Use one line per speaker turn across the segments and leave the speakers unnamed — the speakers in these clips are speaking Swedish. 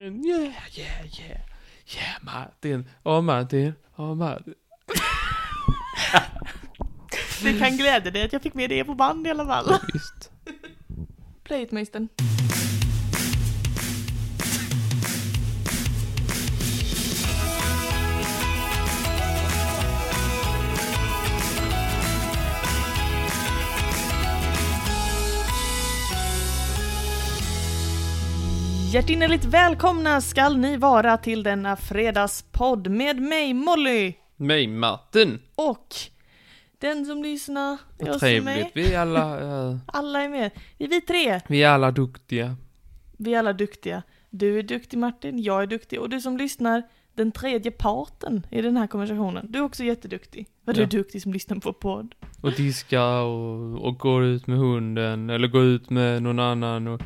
And Mm, yeah, yeah, yeah. Yeah Martin, oh Martin, oh Martin.
Det kan glädja dig att jag fick med det på band i alla fall.
Visst.
Play it, Möisten. Hjärtinnerligt välkomna skall ni vara till denna fredagspodd med mig Molly
Mig Martin.
och den som lyssnar,
Vad
jag som är med.
trevligt. Vi är alla, eh,
Alla är med. Det är vi tre.
vi är alla duktiga.
Vi är alla duktiga. Du är duktig Martin, jag är duktig och du som lyssnar, den tredje parten i den här konversationen, du är också jätteduktig. Vad du
Ja.
är duktig som lyssnar på podd.
Och diskar och, och går ut med hunden eller går ut med någon annan och...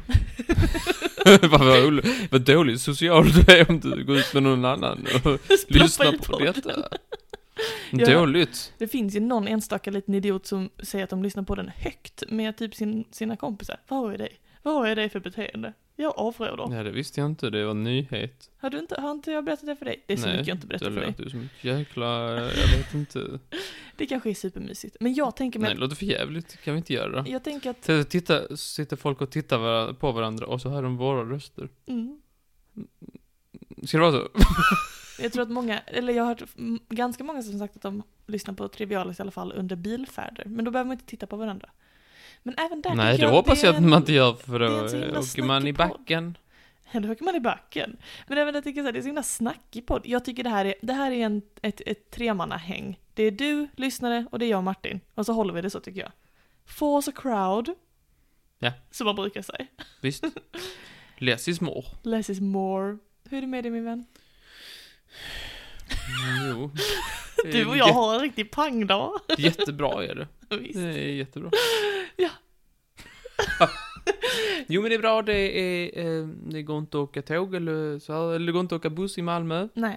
vad, vad, ol- vad dåligt social du är om du går ut med någon annan och lyssnar
i
på
podden.
detta.
Ja.
Dåligt.
Det finns ju någon enstaka liten idiot som säger att de lyssnar på den högt med typ sin, sina kompisar. Vad är det? Vad är det för beteende? Jag avråder.
Nej, det visste jag inte. Det var en nyhet.
Har, du inte, har inte jag berättat det för dig? Det är så
Nej,
mycket jag inte berättar för
det
dig.
låter ju som ett jäkla, jag vet inte.
Det kanske är supermysigt. Men jag tänker
Nej,
mig...
det låter för jävligt. kan vi inte göra.
Jag tänker att...
T- Titta, sitter folk och tittar vara- på varandra och så hör de våra röster.
Mm,
Ska det vara så?
Jag tror att många, eller jag har hört mm, ganska många som sagt att de lyssnar på Trivialis i alla fall under bilfärder. Men då behöver man inte titta på varandra. Men även där
Nej,
tycker
det hoppas
är
jag att
en-
man inte gör för då
det är en så himla
eh, åker man i
snackig podd.
backen.
Ja, då åker man i backen. Men även där tycker jag så här, det är så himla snackig podd. Jag tycker det här är, det här är en, ett, ett tremannahäng. Det är du, lyssnare, och det är jag och Martin. Och så håller vi det så tycker jag. Force a crowd.
Ja.
Som man brukar säga.
Visst. Less is more.
Less is more. Hur är det med dig min vän?
Mm, Jo.
Du och jag har en riktig pangdag.
Jä- jättebra är det.
Visst.
Det är jättebra.
Ja.
jo, men det är bra. Det, är, eh, det går inte att åka tåg eller så här. Eller det går inte att åka buss i Malmö.
Nej.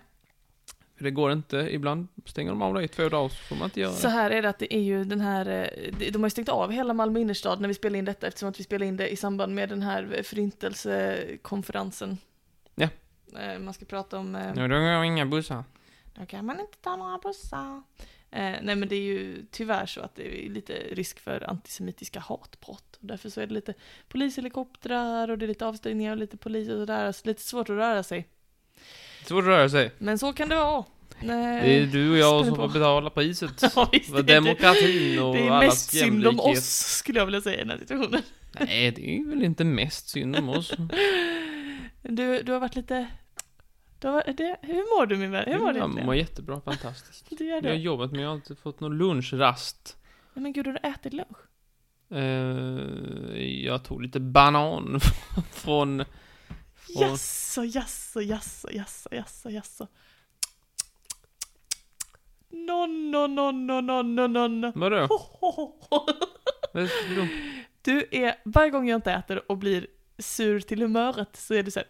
För Det går inte. Ibland stänger de av det i två dagar så får man inte göra
Så
det.
här är det att det är ju den här, eh, de- de har ju stängt av hela Malmö innerstad när vi spelar in detta eftersom att vi spelar in det i samband med den här förintelsekonferensen.
Ja.
Eh, Man ska prata om, eh,
Nu då går jag inga bussar.
då kan man inte ta några bussar. Eh, Nej men det är ju tyvärr så att det är lite risk för antisemitiska hatbrott. Och därför så är det lite polishelikoptrar och det är lite avstängningar och lite polis och sådär. Så lite svårt att röra sig.
Svårt att röra sig.
Men så kan det vara. Nej.
Det är du och jag
Eh,
som
spänn på.
får betala priset.
Ja, visst är
För
det.
demokratin och
Det är
allas
mest synd om
jämlikhet.
oss skulle jag vilja säga i den här situationen.
Nej, det är väl inte mest synd om oss.
Du, du har varit lite... Du har, det, hur mår du min vän? Hur mår du
Jag
egentligen?
mår jättebra, fantastiskt.
Du gör
Jag har
det?
jobbat men jag har inte fått någon lunchrast.
Nej, men gud, har du ätit lunch?
Eh, jag tog lite banan från... Och-
Jaså, jaså, jaså, jaså, jaså, jaså. No, no, no, no, no, no, no, no.
Vadå?
Ho, ho, ho, ho.
Vad är det dumt?
Du är, varje gång jag inte äter och blir sur till humöret så är du så här.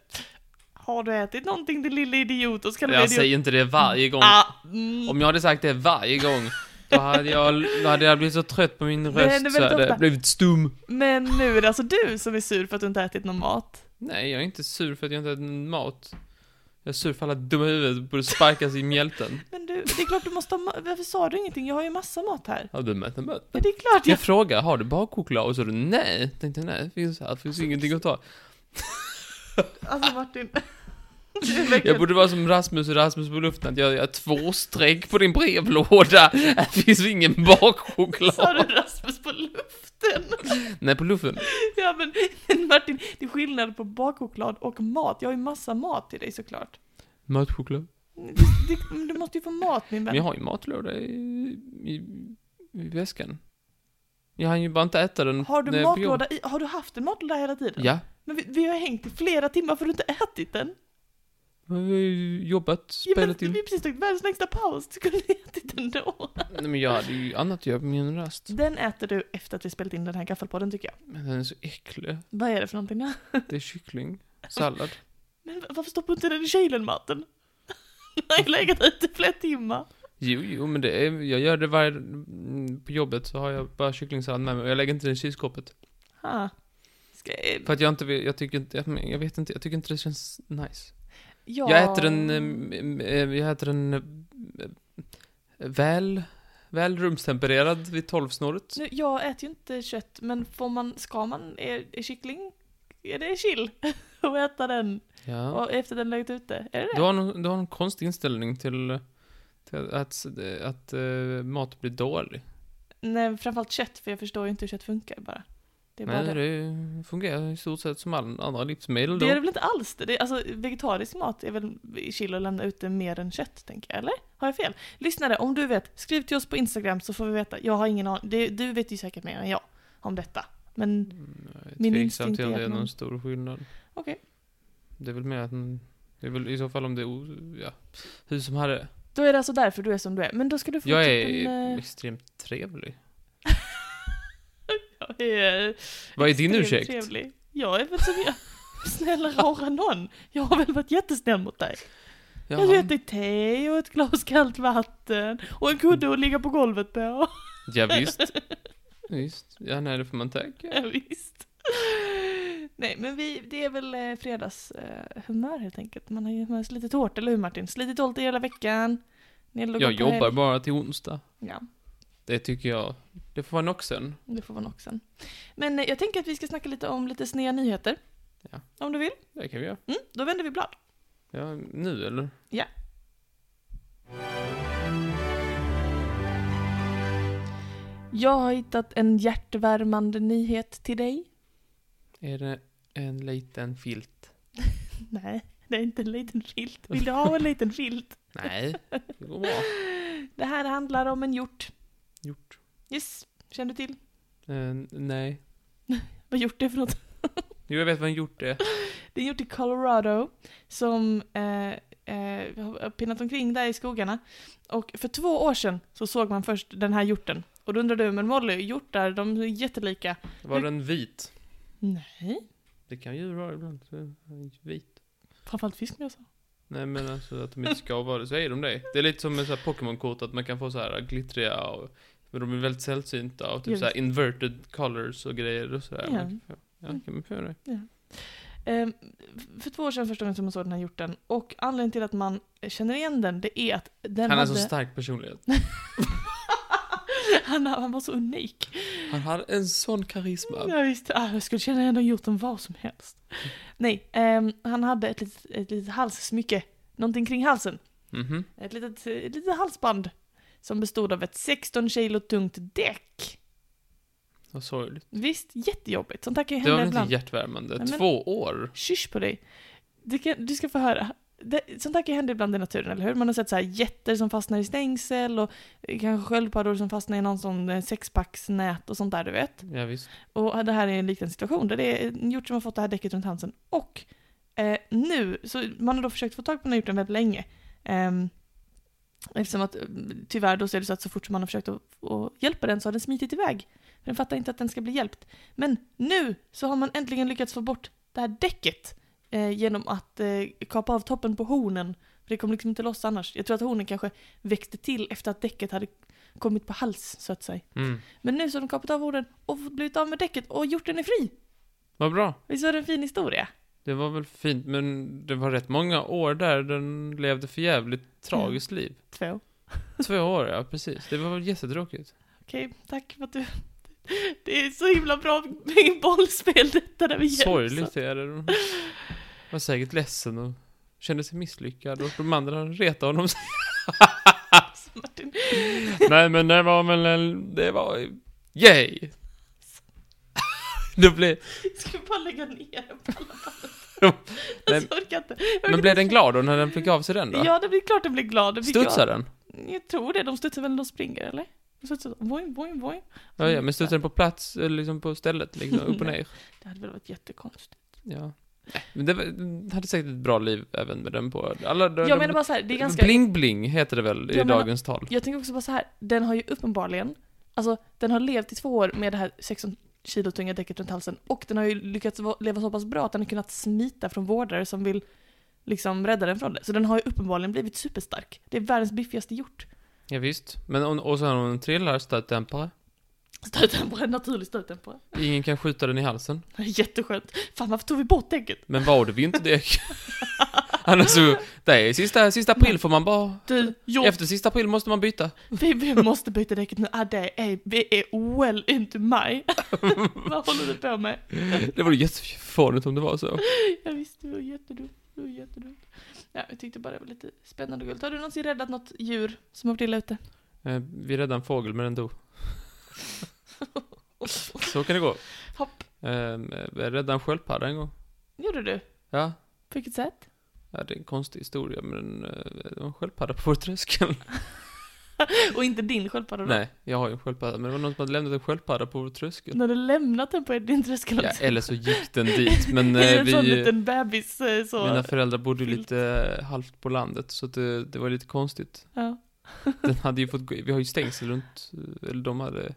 Har du ätit någonting din lille idiot? Och så kan du bli
Jag
idiot.
säger inte det varje gång.
Ah, mm.
Om jag hade sagt det varje gång, då hade jag, då hade jag blivit så trött på min
händer
röst så
väldigt
hade
ofta.
jag blivit stum.
Men nu är det alltså du som är sur för att du inte ätit någon mat.
Nej, jag är inte sur för att jag inte ätit mat. Jag är sur för alla dumma huvuden borde sparkas i mjälten.
Men du, det är klart du måste ha ma- Varför sa du ingenting? Jag har ju massa mat här.
Har du mätt en bön?
Men det är klart jag...
Jag frågade, har du bakchoklad? Och så sa du nej. Jag tänkte nej, det finns här, det finns ingenting att ta.
Alltså Martin. Du är verkligen-
Jag borde vara som Rasmus och Rasmus på luften, att jag gör två streck på din brevlåda. Här finns ingen
Sa
bakchoklad.
du Rasmus på luften?
Nej, på luften.
Ja men, men Martin, det är skillnad på bakchoklad och mat. Jag har ju massa mat till dig såklart.
Matchoklad.
Du, det, men du måste ju få mat min
Men
vän.
jag har ju matlåda i, i, i väskan. Jag hann ju bara inte äta den.
Har du
när jag fick jobb.
matlåda i, Har du haft en matlåda hela tiden?
eh, Ja.
Men vi, vi har hängt i flera timmar för du inte ätit den.
Jag har ju jobbat,
Ja, men,
spelat
vi
in.
har precis tagit världens längsta paus. Du kunde ha ätit den då.
Nej men jag hade ju annat att göra på min rast.
Den äter du efter att vi spelat in den här gaffelpodden tycker jag.
Men den är så äcklig.
Vad är det för någonting?
Det är kyckling, sallad.
Men varför stoppar du inte den i kylen maten? Den har ju legat ute i flera timmar.
Jo, jo, men det är, jag gör det varje, mm, på jobbet så har jag bara kycklingsallad med mig och jag lägger inte den i kylskåpet.
Ha. Ska, eh,
För att jag inte vill, jag tycker inte, jag, men jag vet inte, jag tycker inte det känns nice.
Ja.
Jag äter eh, en,
Mm.
em, em, jag äter en em, väl, väl rumstempererad vid tolvsnåret.
Nu, jag äter ju inte kött, men får man, ska man, är, är kyckling, är det chill att äta den?
Ja.
Och efter den legat ute? Är det
Du
det?
har, någon, du har en konstig inställning till, till att, att, att eh, mat blir dålig.
Nej, framförallt kött, för jag förstår ju inte hur kött funkar bara. Det är bara
Nej, det.
det.
fungerar i stort sett som alla andra livsmedel då.
Det är det väl inte alls? Det är, alltså, vegetarisk mat är väl chill att lämna ute mer än kött, tänker jag. Eller? Har jag fel? Lyssnare, om du vet, skriv till oss på Instagram så får vi veta. Jag har ingen aning. Det- Du vet ju säkert mer än jag om detta. Men
Mm, jag är
Min
tveksam
instinkt
till
är
om
att
det är
man-
någon stor skillnad.
Okej.
Det är väl mer att en, det är väl i så fall om det är, o- ja, hur som helst.
då är det alltså därför du är som du är. Men då ska du få
Jag
typ
är
en... eh,
extremt trevlig.
jag är
Vad är din
extremt
ursäkt?
Trevlig. Jag är väl som jag. Snälla rara någon. Jag har väl varit jättesnäll mot dig. Jag har
Jaha.
gett dig te och ett glas kallt vatten och en kudde att ligga på golvet på.
Ja, visst. visst. Ja, nej, det får man tacka.
Ja, visst. Nej, men vi, det är väl eh, fredagshumör eh, humör helt enkelt. Man har ju man har slitit hårt, eller hur Martin? Slitit hårt hela veckan. Ni låg
Jag
upp på helg.
jobbar bara till onsdag.
Ja,
Det tycker jag. Det får vara nog sen.
det får vara nog sen. Men eh, jag tänker att vi ska snacka lite om lite sneda nyheter.
Ja.
Om du vill.
Det kan vi göra.
Mm, då vänder vi blad.
Ja, nu eller?
Ja. Jag har hittat en hjärtvärmande nyhet till dig.
Är det en liten filt?
Nej, det är inte en liten filt. Vill du ha en liten filt?
Nej, det går bra.
Det här handlar om en hjort.
Gjort.
Yes, känner du till?
Eh, nej.
Vad hjort är för något?
Jo, jag vet vad en gjort är.
Det är gjort i Colorado som eh, eh, har pinnat omkring där i skogarna. Och för två år sedan så såg man först den här hjorten. Och då undrar du, men Molly, hjortar, de är jättelika.
Var den vit?
Nej,
Det kan djur vara ibland. så är den Vit.
framförallt fiskmåsar.
Nej men alltså att de inte ska vara det, så är de det. Det är lite som med så här Pokémon-kort, att man kan få så här glittriga och... Men de är väldigt sällsynta och typ
Just.
så här inverted colors och grejer och sådär.
Ja.
Man kan få- Ja,
Mm.
kan man få göra det.
Eh, för två år sedan första gången som man såg den här hjorten. Och anledningen till att man känner igen den, det är att den
Han har så
hade...
stark personlighet.
han, han var så unik.
Han har en sån karisma.
Ja, visst. Ah, jag skulle känna igen den hjorten vad som helst. Nej, ehm, han hade ett litet, ett litet halssmycke. Någonting kring halsen.
Mhm.
Ett litet, ett litet halsband. Som bestod av ett 16 kilo tungt däck.
Vad sorgligt.
Visst, jättejobbigt. Sånt här kan ju
Det var
hända
väl inte
ibland.
hjärtvärmande?
Nej, men-
Två år?
Shush på dig. Du, kan, du ska få höra. Det, sånt här kan ju hända ibland i naturen, eller hur? Man har sett så här jätter som fastnar i stängsel och eh, kanske sköldpaddor som fastnar i någon sån eh, sexpacksnät och sånt där, du vet.
Ja, visst.
Och det här är en liknande situation där det är en hjort som har fått det här däcket runt halsen. Och eh, nu, så man har då försökt få tag på den här hjorten väldigt länge. Ehm, eftersom att eh, tyvärr då så är det så att så fort som man har försökt att, att hjälpa den så har den smitit iväg. För den fattar inte att den ska bli hjälpt. Men nu så har man äntligen lyckats få bort det här däcket eh, genom att eh, kapa av toppen på hornen. För det kom liksom inte loss annars. Jag tror att hornen kanske växte till efter att däcket hade kommit på hals så att säga.
Mm.
Men nu så har de kapat av orden och fått blivit av med däcket och gjort den är fri.
Vad bra.
Visst var det en fin historia?
Det var väl fint, men det var rätt många år där den levde för jävligt tragiskt liv.
Två.
Två år, ja precis. Det var väl jättetråkigt.
Okej, tack för att du... Det är så himla bra med bollspel detta där vi hjälps.
Sorgligt är det. De var säkert ledsen och kände sig misslyckad och de andra retade honom.
åt, Alltså, Martin.
Nej men det var väl en... Det var... Yay! Det blev...
Ska vi bara lägga ner den på alla
Ja,
band?
men-
Jag orkar inte. Jag orkar
Men blev
inte.
den glad då när den fick av sig den då?
Ja, det blir klart den blir glad. Det fick
Studsade den?
Jag, jag tror det. De studsar väl när de springer, eller? De studsar boing, boing, boing.
Ja, ja, men studsade den på plats, eller liksom på stället, liksom upp och ner?
Det hade väl varit jättekonstigt.
Ja. Nej, Men det var, den hade säkert ett bra liv även med den på. Alla, de,
Jag menar bara så här, det är ganska...
Bling bling heter det väl i
Jag menar-
dagens tal?
Jag tänker också bara så här, den har ju uppenbarligen, alltså den har levt i två år med det här 16 kilo tunga däcket runt halsen och den har ju lyckats va- leva så pass bra att den har kunnat smita från vårdare som vill liksom rädda den från det. Så den har ju uppenbarligen blivit superstark. Det är världens biffigaste hjort.
Ja, visst. Men om, och sen om den trillar, stötdämpare.
Stöten på en naturlig stöten på en.
Ingen kan skjuta den i halsen.
Jätteskönt. Fan varför tog vi bort däcket?
Men var det vinterdäck? Annars så, det är sista, sista april får man bara...
Du, jag,
Efter sista april måste man byta.
vi, vi måste byta däcket nu. Ah, det är, vi är well into maj. Vad håller du på med?
Det vore jättefånigt om det var så.
Jag visste, det var jättedumt. Det var jättedumt. Ja, jag tyckte bara det var lite spännande och gulligt. Har du någonsin räddat något djur som har varit illa ute?
Eh, Vi räddade en fågel, men den dog. Så kan det gå.
Hopp.
Eh, Jag räddade en sköldpadda en gång.
Gjorde du?
Ja.
På vilket sätt?
ja, det är en konstig historia, men eh, det var en sköldpadda på vår tröskel.
Och inte din sköldpadda då?
Nej, jag har ju en sköldpadda, men det var någon som hade lämnat en sköldpadda på vår tröskel.
När du lämnat den på din tröskel
Ja,
också.
eller så gick den dit, men
I
eh,
en sån
vi...
liten bebis eh, så.
Mina föräldrar bodde ju
Filt.
lite
Mm.
eh, halvt på landet, så att det, det var lite konstigt.
Ja.
Den hade ju fått gå, vi har ju stängsel runt, eh, eller de hade,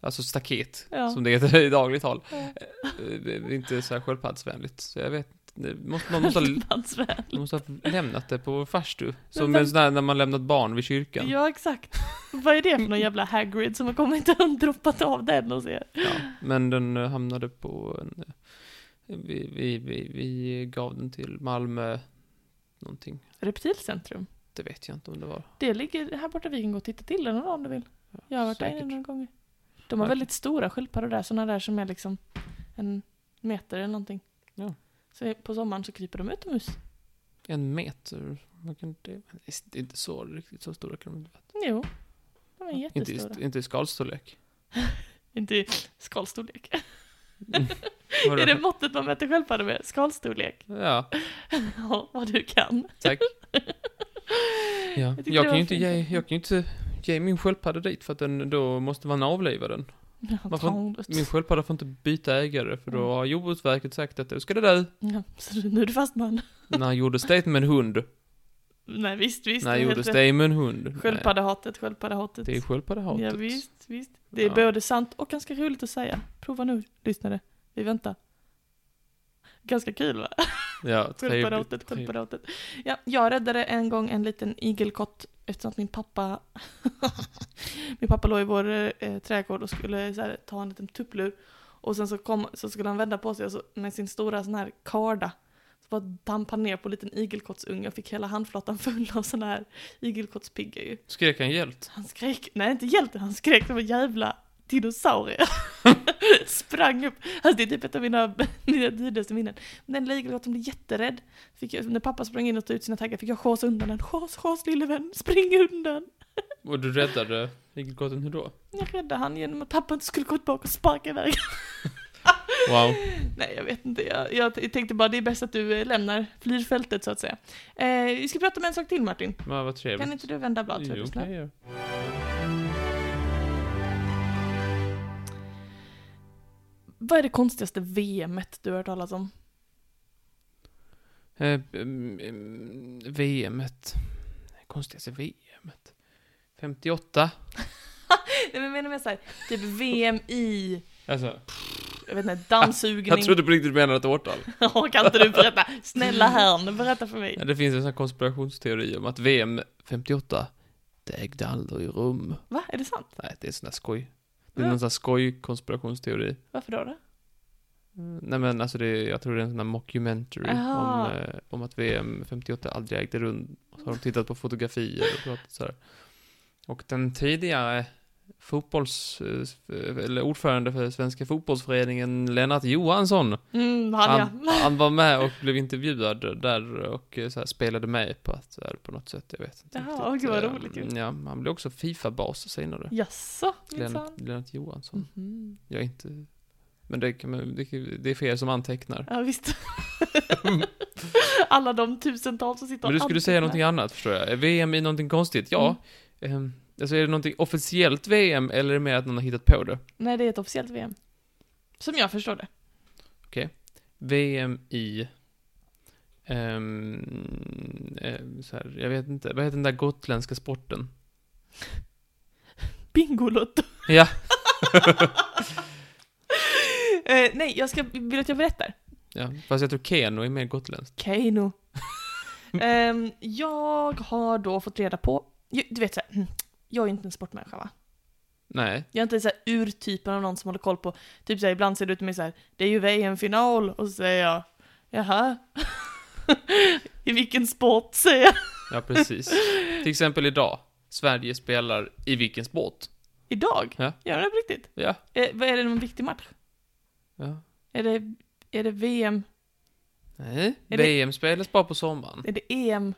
alltså staket,
Ja.
som det heter i dagligt tal.
Ja.
Eh, Det är inte så här sköldpaddsvänligt, så jag vet inte. det måste, någon måste ha,
Sköldpaddsvän.
de måste ha lämnat det på vår farstu.
Men
Som en
vem-
sån där när man lämnat barn vid kyrkan.
Ja, exakt. Vad är det för någon jävla Hagrid som har kommit och droppat av den och ser?
Ja, men den eh, hamnade på en, eh, vi, vi, vi, vi gav den till Malmö, någonting.
Reptilcentrum.
Det vet jag inte om det var.
Det ligger här borta, vi kan gå och titta till den någon dag om du vill. Jag har varit där
säkert.
inne några gånger. De har
Ja.
väldigt stora sköldpaddor där, sådana där som är liksom en meter eller någonting.
Ja.
Så på sommaren så kryper de utomhus.
En meter? Vad kan det Det är inte så riktigt så stora kan de inte
Jo, de
vara.
är
Inte,
jättestora.
i- inte i skalstorlek.
Inte i skalstorlek.
Var
Är det måttet man mäter sköldpaddor med? Skalstorlek?
Ja,
Ja, vad du kan.
tack. Ja.
tyckte
Jag,
det
kan
var
ju inte
fint.
ge, jag kan ju inte ge min sköldpadda dit för att den, då måste man avliva den. Man får-
Trångt.
Min sköldpadda får inte byta ägare för då
Mm.
har Jordbruksverket sagt att du ska det dö.
Ja, så nu är du fast man.
När han gjorde state med en hund.
Nej, visst, visst.
När
det
han
är
gjorde
helt
state med en hund. Nej,
Sköldpaddehatet, sköldpaddehatet.
det är sköldpaddehatet.
Ja, visst, visst. Det är
Ja.
både sant och ganska roligt att säga. Prova nu, lyssnare. Vi väntar. Ganska kul va?
Ja, trevligt.
Sköldpaddehatet, sköldpaddehatet. Ja, jag räddade en gång en liten igelkott eftersom att min pappa min pappa låg i vår eh, trädgård och skulle så här, ta en liten tupplur och sen så, kom, så skulle han vända på sig och så, med sin stora sån här karda så bara damp han ner på en liten igelkottsunge och fick hela handflatan full av sån här igelkottspiggar ju.
Skrek han hjält?
Han skrek, nej inte hjälte, han skrek som en jävla dinosaurie. Sprang upp. Alltså det är typ ett av mina, mina dyraste minnen. Men den lilla igelkotten blev jätterädd. Fick jag, när pappa sprang in och tog ut sina taggar fick jag schasa undan den. Schas, schas lille vän, spring undan.
Och du räddade igelkotten hur då?
Jag räddade han genom att pappa inte skulle gå tillbaka och sparka iväg.
Wow.
Nej jag vet inte, jag, jag tänkte bara det är bäst att du eh, lämnar, flyr fältet så att säga. Eh, vi ska prata om en sak till Martin.
Men vad trevligt.
Kan inte du vända blad för
Jo,
lyssna?
kan jag göra.
Vad är det konstigaste VMet du har hört talas om?
Eh, mm, mm, VMet. Konstigaste VMet. 58.
Nej men menar jag såhär, typ VM i,
Alltså,
jag vet inte, dammsugning.
jag trodde på riktigt du menade ett årtal.
Ja, kan inte du berätta? Snälla herrn, berätta för mig.
Ja, det finns en sån här konspirationsteori om att VM 58, det ägde aldrig rum.
Va, är det sant?
Nej, det är sån där skoj. Det är
Va?
någon sån här skoj-konspirationsteori.
Varför då? då?
Mm, Nej men alltså det, är- jag tror det är en sån där mockumentary om,
Aha.
eh, om att VM 58 aldrig ägde rum. Och så har de tittat på fotografier och pratat så här. Och den tidigare fotbolls, eh, eller ordförande för Svenska fotbollsföreningen Lennart Johansson.
Mm, han ja.
han var med och blev intervjuad där och eh, så här, spelade med på att så här, på något sätt, jag vet inte.
Jaha,
riktigt.
gud, vad
Eh,
roligt ju.
Ja, han blev också Fifa-bas senare.
Jaså,
Lennart,
minsann.
Lennart Johansson.
Mhm.
Jag är inte... Men det, kan man- det, kan- det är för er som antecknar.
Ja, visst. Alla de tusentals som sitter och
Men du skulle säga
antecknar.
någonting annat förstår jag. Är VM i någonting konstigt? Ja.
Mm.
Ehm, alltså är det någonting officiellt VM eller är det mer att någon har hittat på det?
Nej, det är ett officiellt VM. Som jag förstår det.
VM i... ehm, eh, så här, jag vet inte. Vad heter den där gotländska sporten?
Bingolotto.
Ja.
Eh, nej, jag ska, vill du att jag berättar?
ja. Fast jag tror Keno är mer gotländskt.
Keino. Ehm, jag har då fått reda på, ju- du vet så här, hm, jag är ju inte en sportmänniska va?
Nej.
Jag är inte så här urtypen av någon som håller koll på, typ så här, ibland ser det ut till mig så här, det är ju VM-final, och så säger jag, jaha? I vilken sport säger jag?
Ja, precis. Till exempel idag. Sverige spelar i vilken sport?
Idag?
Ja.
Gör de det på riktigt?
Ja.
Eh, vad är det någon viktig match?
ja.
Är det, är det VM?
Nej,
Är det-
VM spelas bara på sommaren.
Är det EM?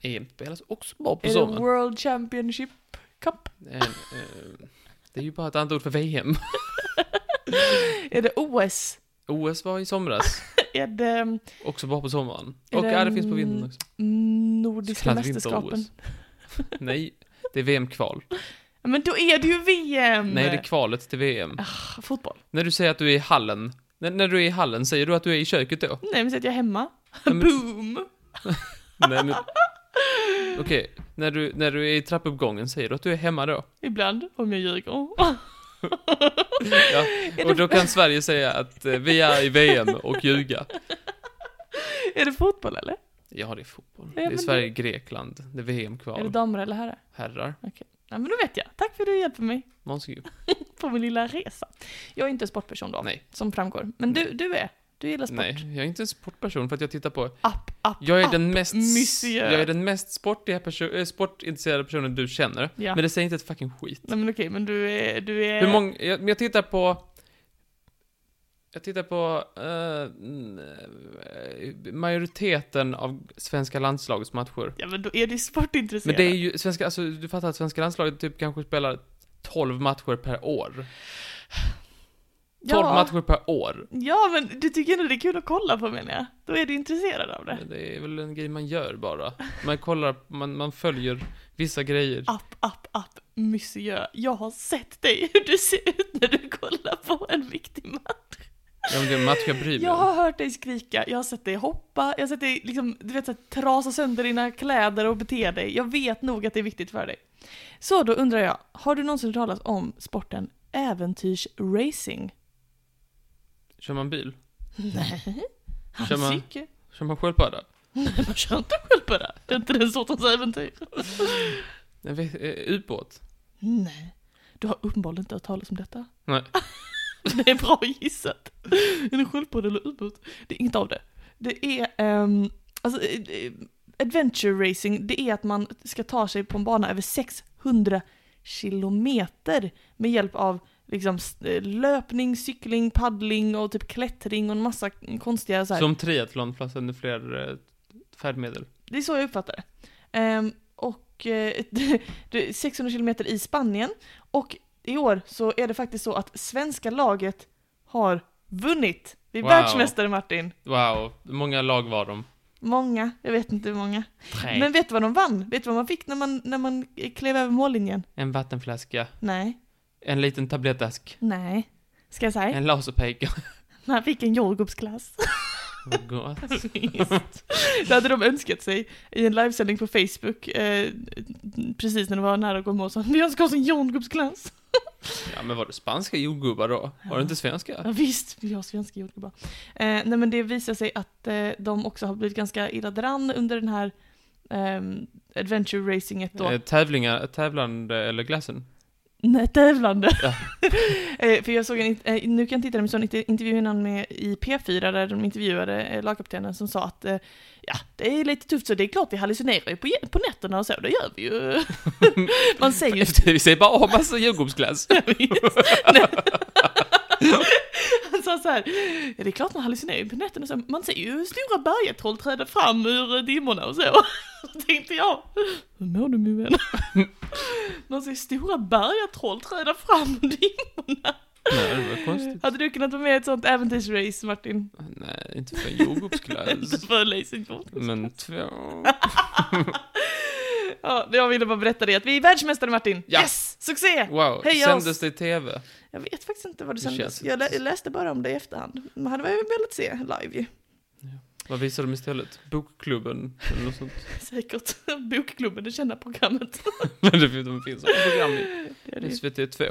EM spelas också bara på
är det
sommaren.
World Championship Cup?
En, eh, det är ju bara ett annat ord för VM.
Är det OS?
OS var i somras.
Är det mm,
Också bara på sommaren.
Är
Och
det
ja, det finns på
en-
vintern också. Så
Nordiska
kallat
mästerskapen?
vinter-OS. Nej, det är VM-kval.
Ja, men då är det ju VM!
Nej, det är kvalet till VM.
ah, fotboll.
När du säger att du är i hallen. När, när du är i hallen, säger du att du är i köket då?
Nej, men så att jag är hemma.
Nej, men-
Boom!
Nej, men... Okej, när, du, när du är i trappuppgången, säger du att du är hemma då?
Ibland, om jag ljuger.
Ja. Och då kan Sverige säga att eh, vi är i VM och ljuga.
är det fotboll eller?
Ja, det är fotboll.
Ja,
det är
men
Sverige-Grekland. Det är
Är det
VM-kval.
damer eller herrar?
Herrar.
Ja, men då vet jag. Tack för att du hjälper mig
Måns Gup.
på min lilla resa. Jag är inte en sportperson då,
Nej.
som framgår. Men du, du är. Du gillar sport.
Nej, jag är inte en sportperson för att jag tittar på...
App, app,
Jag är
app.
den mest...
monsieur.
Jag är den mest sportiga perso- eh, sportintresserade personen du känner.
Ja.
Men det säger inte ett fucking skit.
Nej men okej, men du är... Du är...
Hur många... Jag, men jag tittar på... Jag tittar på eh, mm, eh, majoriteten av svenska landslagets matcher.
Ja men då är du sportintresserad.
Men det är ju, svenska, alltså du fattar att svenska landslaget typ kanske spelar 12 matcher per år. 12
ja.
matcher per år.
Ja men du tycker ändå det är kul att kolla på menar jag. Då är du intresserad av det.
Men Det är väl en grej man gör bara. Man kollar, man, man följer vissa grejer.
App, app, app, monsieur. Jag har sett dig hur du ser ut när du kollar på en viktig match.
Ja, men det är en match jag bryr mig
Jag
om.
har hört dig skrika, jag har sett dig hoppa, jag har sett dig liksom, du vet så här, trasa sönder dina kläder och bete dig. Jag vet nog att det är viktigt för dig. Så då undrar jag, har du någonsin hört talas om sporten äventyrsracing?
Kör man bil?
Nej.
Kör man-
Han cykel?
Kör man sköldpadda?
Nej, man kör inte sköldpadda. Det är inte den sortens äventyr.
Jag vet- eh, Ubåt?
Nej. Du har uppenbarligen inte hört talas om detta.
Nej.
Det är bra gissat. Är det sköldpadda eller ubåt? Det är inget av det. Det är, ehm, alltså, eh, eh, adventure racing, det är att man ska ta sig på en bana över 600 kilometer med hjälp av liksom s- eh, löpning, cykling, paddling och typ klättring och en massa konstiga så här.
Som triathlon fast ännu fler eh, färdmedel.
Det är så jag uppfattar det. Ehm, och eh, det- det är 600 kilometer i Spanien. Och i år så är det faktiskt så att svenska laget har vunnit. Vi är
Wow.
världsmästare Martin.
Wow, hur många lag var de?
Många, jag vet inte hur många.
Tre.
Men vet du vad de vann? Vet du vad man fick när man, när man eh, klev över mållinjen?
En vattenflaska,
Nej,
en liten tablettask,
nej. Ska jag säga?
en laserpekare.
Man fick en jordgubbsglass.
Vad gott.
Visst. Det hade de önskat sig i en livesändning på Facebook eh, precis när det var nära att gå i mål. Så, Vi önskar oss en jordgubbsglass.
Ja, men var det spanska jordgubbar då? Var det inte svenska?
Ja, visst, vi har svenska jordgubbar. Eh, nej men det visar sig att eh, de också har blivit ganska illa däran under den här ehm, adventure racinget då.
Eh, tävlingar, tävlande eller glassen?
Nej, tävlande.
Ja.
eh, för jag såg en, int- eh, nu kan jag titta, men jag såg en inter- intervju innan med i P4 där de intervjuade eh, lagkaptenen som sa att eh, ja, det är lite tufft så det är klart vi hallucinerar ju på, je- på nätterna och så, det gör vi ju. Man säger ju
Vi säger bara åh, massa jordgubbsglass.
Han sa så här, ja, det är klart man hallucinerar ju på nätterna och så, man ser ju stora bergetroll träda fram ur eh, dimmorna och så. Då tänkte jag, hur mår du min vän? Man ser stora bergetroll träda fram ur dimmorna.
Nej, det var konstigt.
Hade du kunnat vara med i ett sånt äventyrsrace Martin?
Nej, inte för en jordgubbsglass.
Inte för Lacing Ford.
Men två...
Ja, jag ville bara berätta det att vi är världsmästare Martin.
Ja.
Yes! Succé!
Wow,
Hej, jag-
sändes det i TV?
Jag vet faktiskt inte vad det
Det
sändes.
känns-
Jag lä- jag läste bara om det i efterhand. Man hade väl velat se live ju.
Vad visar de istället? Bokklubben eller något sånt?
Säkert. Bokklubben, det kända programmet.
Men det finns- de finns sådana program i
Det är det ju.
SVT 2.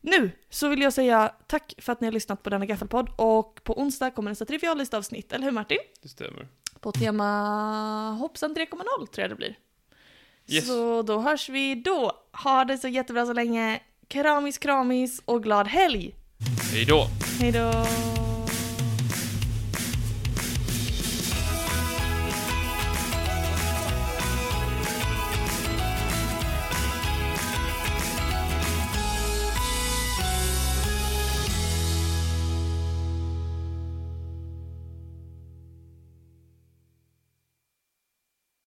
Nu så vill jag säga tack för att ni har lyssnat på denna gaffelpodd och på onsdag kommer nästa triviallista-avsnitt, eller hur Martin?
Det stämmer.
På tema hoppsan 3.0 tror jag det blir.
Yes.
Så då hörs vi då. Ha det så jättebra så länge. Kramis, kramis och glad helg!
Hej då!
Hej då!